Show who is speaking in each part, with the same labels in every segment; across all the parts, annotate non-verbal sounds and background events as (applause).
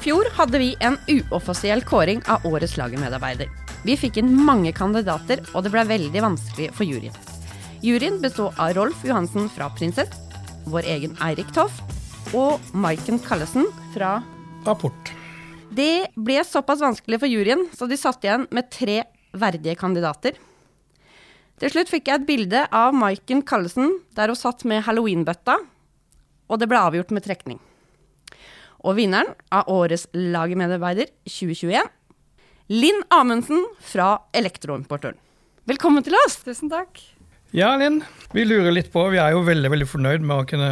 Speaker 1: fjor hadde vi en uoffisiell kåring av årets lagermedarbeider. Vi fikk inn mange kandidater, og det ble veldig vanskelig for juryen. Juryen bestod av Rolf Johansen fra Prinsess, vår egen Eirik Toft og Maiken Kallesen fra
Speaker 2: Apport.
Speaker 1: Det ble såpass vanskelig for juryen, så de satt igjen med tre verdige kandidater. Til slutt fikk jeg et bilde av Maiken Kallesen der hun satt med halloweenbøtta, og det ble avgjort med trekning. Og vinneren av årets lagermedarbeider 2021, Linn Amundsen fra Elektroimportøren. Velkommen til oss!
Speaker 3: Tusen takk.
Speaker 2: Ja, Linn. Vi lurer litt på, vi er jo veldig veldig fornøyd med å kunne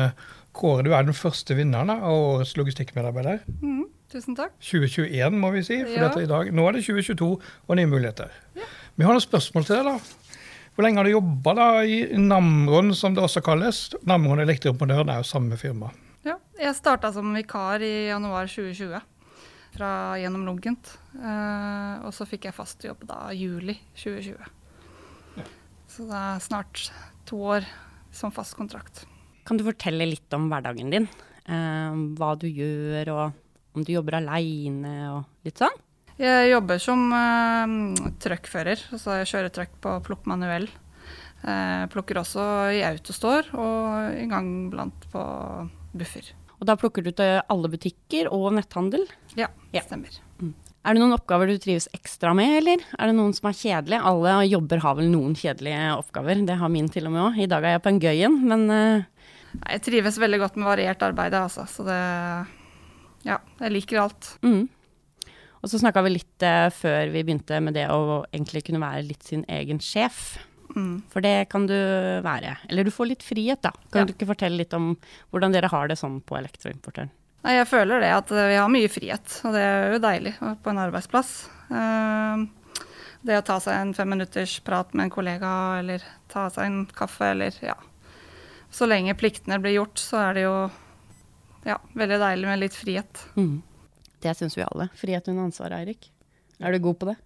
Speaker 2: kåre du er den første vinneren da, av årets logistikkmedarbeider.
Speaker 3: Mm, tusen takk.
Speaker 2: 2021, må vi si. For
Speaker 3: Ja.
Speaker 2: dette i dag. Nå er det 2022 og nye muligheter. Vi har noen spørsmål til deg, da. Hvor lenge har du jobba i Namron, som det også kalles? Namron Elektroimponøren er jo samme firma.
Speaker 3: Ja, jeg starta som vikar i januar 2020 fra gjennom Lunkent. Eh, og så fikk jeg fast jobb da juli 2020. Så det er snart to år som fast kontrakt.
Speaker 1: Kan du fortelle litt om hverdagen din? Eh, hva du gjør, og om du jobber aleine og litt sånn?
Speaker 3: Jeg jobber som eh, trøkkfører, altså jeg kjører trøkk på plukk manuell. Eh, plukker også i autostore og en gang blant på buffer.
Speaker 1: Og da plukker du til alle butikker og netthandel.
Speaker 3: Ja,
Speaker 1: Ja.
Speaker 3: stemmer.
Speaker 1: Er det noen oppgaver du trives ekstra med, eller er det noen som er kjedelige? Alle jobber har vel noen kjedelige oppgaver, det har min til og med òg. I dag er jeg på en gøy en, men eh,
Speaker 3: Nei, Jeg trives veldig godt med variert arbeid, altså. Så det Ja, jeg liker alt.
Speaker 1: mm. Og så snakka vi litt eh, før vi begynte med det å egentlig kunne være litt sin egen sjef.
Speaker 3: Mm.
Speaker 1: For det kan du være. Eller du får litt frihet, da. Kan
Speaker 3: Ja.
Speaker 1: du ikke fortelle litt om hvordan dere har det sånn på elektroimportøren?
Speaker 3: Nei, jeg føler det at vi har mye frihet, og det er jo deilig å være på en arbeidsplass. Ehm, Det å ta seg en femminutters prat med en kollega, eller ta seg en kaffe, eller ja. Så lenge pliktene blir gjort, så er det jo ja, veldig deilig med litt frihet.
Speaker 1: Mm. Det syns vi alle. Frihet under ansvar, Eirik. Er du god på det?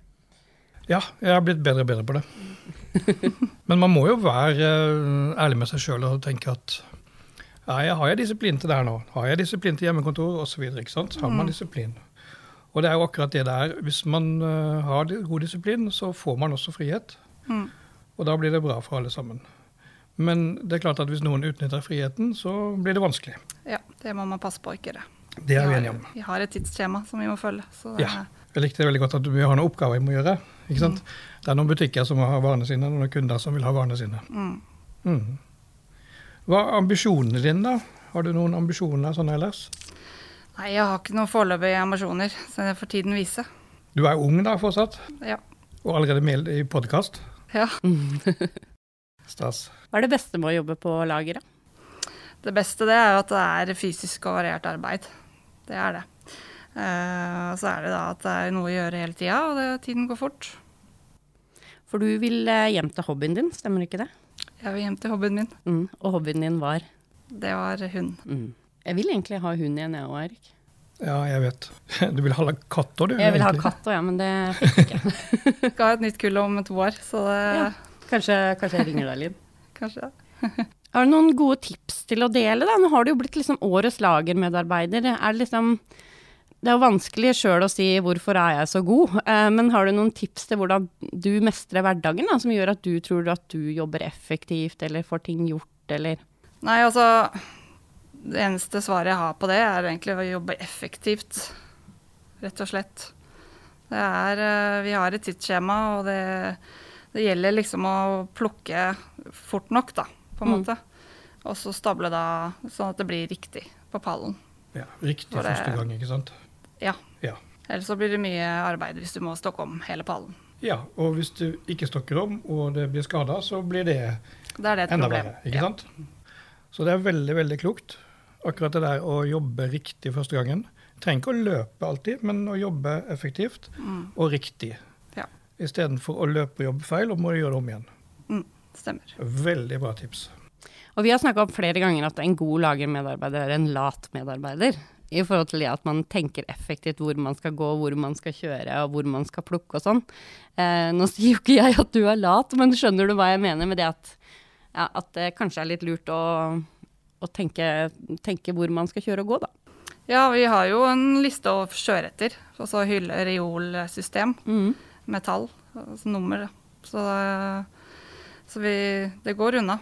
Speaker 2: Ja, jeg har blitt bedre og bedre på det. Men man må jo være eh, ærlig med seg sjøl og tenke at nei, har jeg disiplin til det her nå? Har jeg disiplin til hjemmekontor osv.? Har man disiplin? Og det er jo akkurat det det er. Hvis man eh, har di- god disiplin, så får man også frihet.
Speaker 3: Mm.
Speaker 2: Og da blir det bra for alle sammen. Men det er klart at hvis noen utnytter friheten, så blir det vanskelig.
Speaker 3: Ja, det må man passe på å ikke gjøre.
Speaker 2: Det er vi enige om.
Speaker 3: Vi har et tidsskjema som vi må følge. Så det,
Speaker 2: Ja. Jeg likte det veldig godt at vi har noen oppgaver vi må gjøre. ikke sant? Det er noen butikker som har varene sine, og noen kunder som vil ha varene sine.
Speaker 3: mm.
Speaker 2: Mhm. Hva er ambisjonene dine, da? Har du noen ambisjoner sånn ellers?
Speaker 3: Nei, jeg har ikke noen foreløpige ambisjoner, så det får tiden vise.
Speaker 2: Du er ung da fortsatt,
Speaker 3: Ja.
Speaker 2: og allerede med i podkast.
Speaker 3: ja.
Speaker 1: Mm. (laughs)
Speaker 2: Stas.
Speaker 1: Hva er det beste med å jobbe på lageret?
Speaker 3: Det beste det er jo at det er fysisk og variert arbeid. Det er det. Eh, og så er det da at det er noe å gjøre hele tida, og det, tiden går fort.
Speaker 1: For du vil eh, hjem til hobbyen din, stemmer ikke det?
Speaker 3: Jeg vil hjem til hobbyen min.
Speaker 1: Mm. Og hobbyen din var
Speaker 3: Det var hund.
Speaker 1: mm. Jeg vil egentlig ha hund igjen, jeg òg, Erik.
Speaker 2: Ja, jeg vet. (laughs) Du vil ha katt òg, du?
Speaker 1: Jeg vil ha
Speaker 2: egentlig.
Speaker 1: katt òg, ja, men det fikk jeg ikke.
Speaker 3: Skal ha et nytt kull om to år, så det
Speaker 1: Ja. Kanskje, kanskje jeg ringer deg, Linn.
Speaker 3: kanskje
Speaker 1: Har du noen gode tips til å dele, da? Nå har du jo blitt liksom årets lagermedarbeider. Er det liksom Det er jo vanskelig sjøl å si hvorfor er jeg så god, eh, men har du noen tips til hvordan du mestrer hverdagen, da, som gjør at du tror at du jobber effektivt, eller får ting gjort, eller
Speaker 3: Nei, altså Det eneste svaret jeg har på det, er egentlig å jobbe effektivt. Rett og slett. Det er eh, Vi har et tidsskjema, og det, det gjelder liksom å plukke fort nok, da, på en
Speaker 1: Mm.
Speaker 3: måte. Og så stable da sånn at det blir riktig på pallen.
Speaker 2: Ja, riktig
Speaker 3: For det-
Speaker 2: første gang, ikke sant?
Speaker 3: Ja.
Speaker 2: Ja.
Speaker 3: Ellers så blir det mye arbeid hvis du må stokke om hele pallen.
Speaker 2: ja. Og hvis du ikke stokker om, og det blir skada, så blir det
Speaker 3: Det er det et
Speaker 2: Enda
Speaker 3: problem.
Speaker 2: verre, ikke sant? Så det er veldig, veldig klokt. Akkurat det der å jobbe riktig første gangen. Trenger ikke å løpe alltid, men å jobbe effektivt og riktig.
Speaker 3: Mm. Ja.
Speaker 2: Istedenfor å løpe og jobbe feil, og må gjøre det om igjen.
Speaker 3: Stemmer.
Speaker 2: Veldig bra tips.
Speaker 1: Og vi har snakka om flere ganger at en god lagermedarbeider er en lat medarbeider. I forhold til det at man tenker effektivt hvor man skal gå, hvor man skal kjøre og hvor man skal plukke og sånn. Eh, nå sier jo ikke jeg at du er lat, men skjønner du hva jeg mener med det at, ja, at det kanskje er litt lurt å, å tenke, tenke hvor man skal kjøre og gå, da.
Speaker 3: Ja, vi har jo en liste over sjøretter, og så hylle reolsystem
Speaker 1: Mm.
Speaker 3: med tall, altså nummer. da. Så, eh, så vi, det går unna.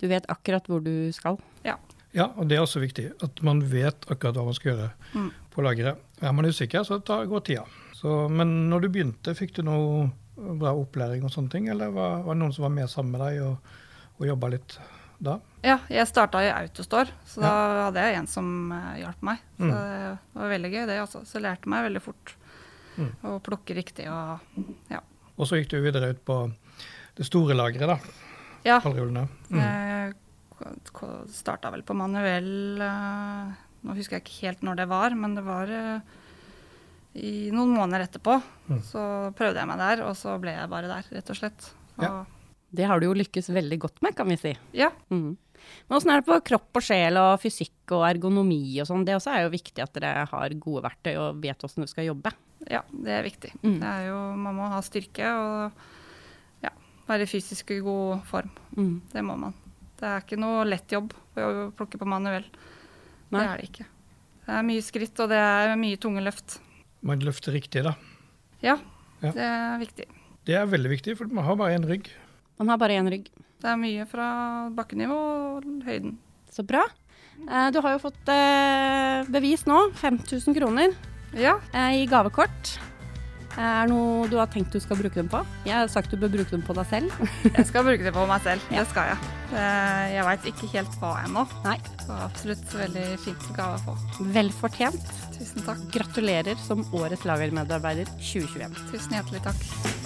Speaker 1: Du vet akkurat hvor du skal.
Speaker 3: Ja.
Speaker 2: Ja, og det er også viktig. At man vet akkurat hva man skal gjøre
Speaker 3: Mm.
Speaker 2: på lageret. Er man usikker, så tar, går tida. Så, men når du begynte, fikk du noe bra opplæring og sånne ting? Eller var, var det noen som var med sammen med deg og, og jobba litt da?
Speaker 3: ja jeg starta i Autostore, så da hadde jeg en som eh, hjalp meg. Så det var veldig gøy, det. Altså. Så jeg lærte meg veldig fort å plukke riktig og ja.
Speaker 2: Og så gikk du videre ut på det store lageret, da.
Speaker 3: ja
Speaker 2: Pallrullene.
Speaker 3: Jeg starta vel på manuell eh, Nå husker jeg ikke helt når det var, men det var eh, i noen måneder etterpå. Så prøvde jeg meg der, og så ble jeg bare der, rett og slett. Og, ja.
Speaker 2: Ja.
Speaker 1: Det har du jo lykkes veldig godt med, kan vi si.
Speaker 3: ja.
Speaker 1: Mm. Men åssen er det på kropp og sjel og fysikk og ergonomi og sånn? Det også er jo viktig at dere har gode verktøy og vet åssen du skal jobbe.
Speaker 3: det er viktig.
Speaker 1: Mm.
Speaker 3: Det er jo, man må ha styrke og ja, være fysisk i god form.
Speaker 1: Mm.
Speaker 3: Det må man. Det er ikke noe lett jobb å plukke på manuell.
Speaker 1: Nei.
Speaker 3: Det er det ikke. Det er mye skritt, og det er mye tunge løft.
Speaker 2: Man løfter riktig, da.
Speaker 3: Ja,
Speaker 2: Ja.
Speaker 3: det er viktig.
Speaker 2: Det er veldig viktig, for man har bare én rygg.
Speaker 1: Man har bare én rygg.
Speaker 3: Det er mye fra bakkenivå og høyden.
Speaker 1: Så bra. Eh, Du har jo fått eh, bevis nå. 5000 kroner
Speaker 3: Ja,
Speaker 1: eh, i gavekort. Eh, Er det noe du har tenkt du skal bruke dem på? Jeg har sagt du bør bruke dem på deg selv. (laughs)
Speaker 3: jeg skal bruke det på meg selv. Det skal jeg. Eh, Jeg veit ikke helt hva ennå.
Speaker 1: Nei,
Speaker 3: Så absolutt veldig fint gave å få.
Speaker 1: velfortjent.
Speaker 3: Tusen takk.
Speaker 1: Gratulerer som årets lagermedarbeider 2021.
Speaker 3: Tusen hjertelig takk.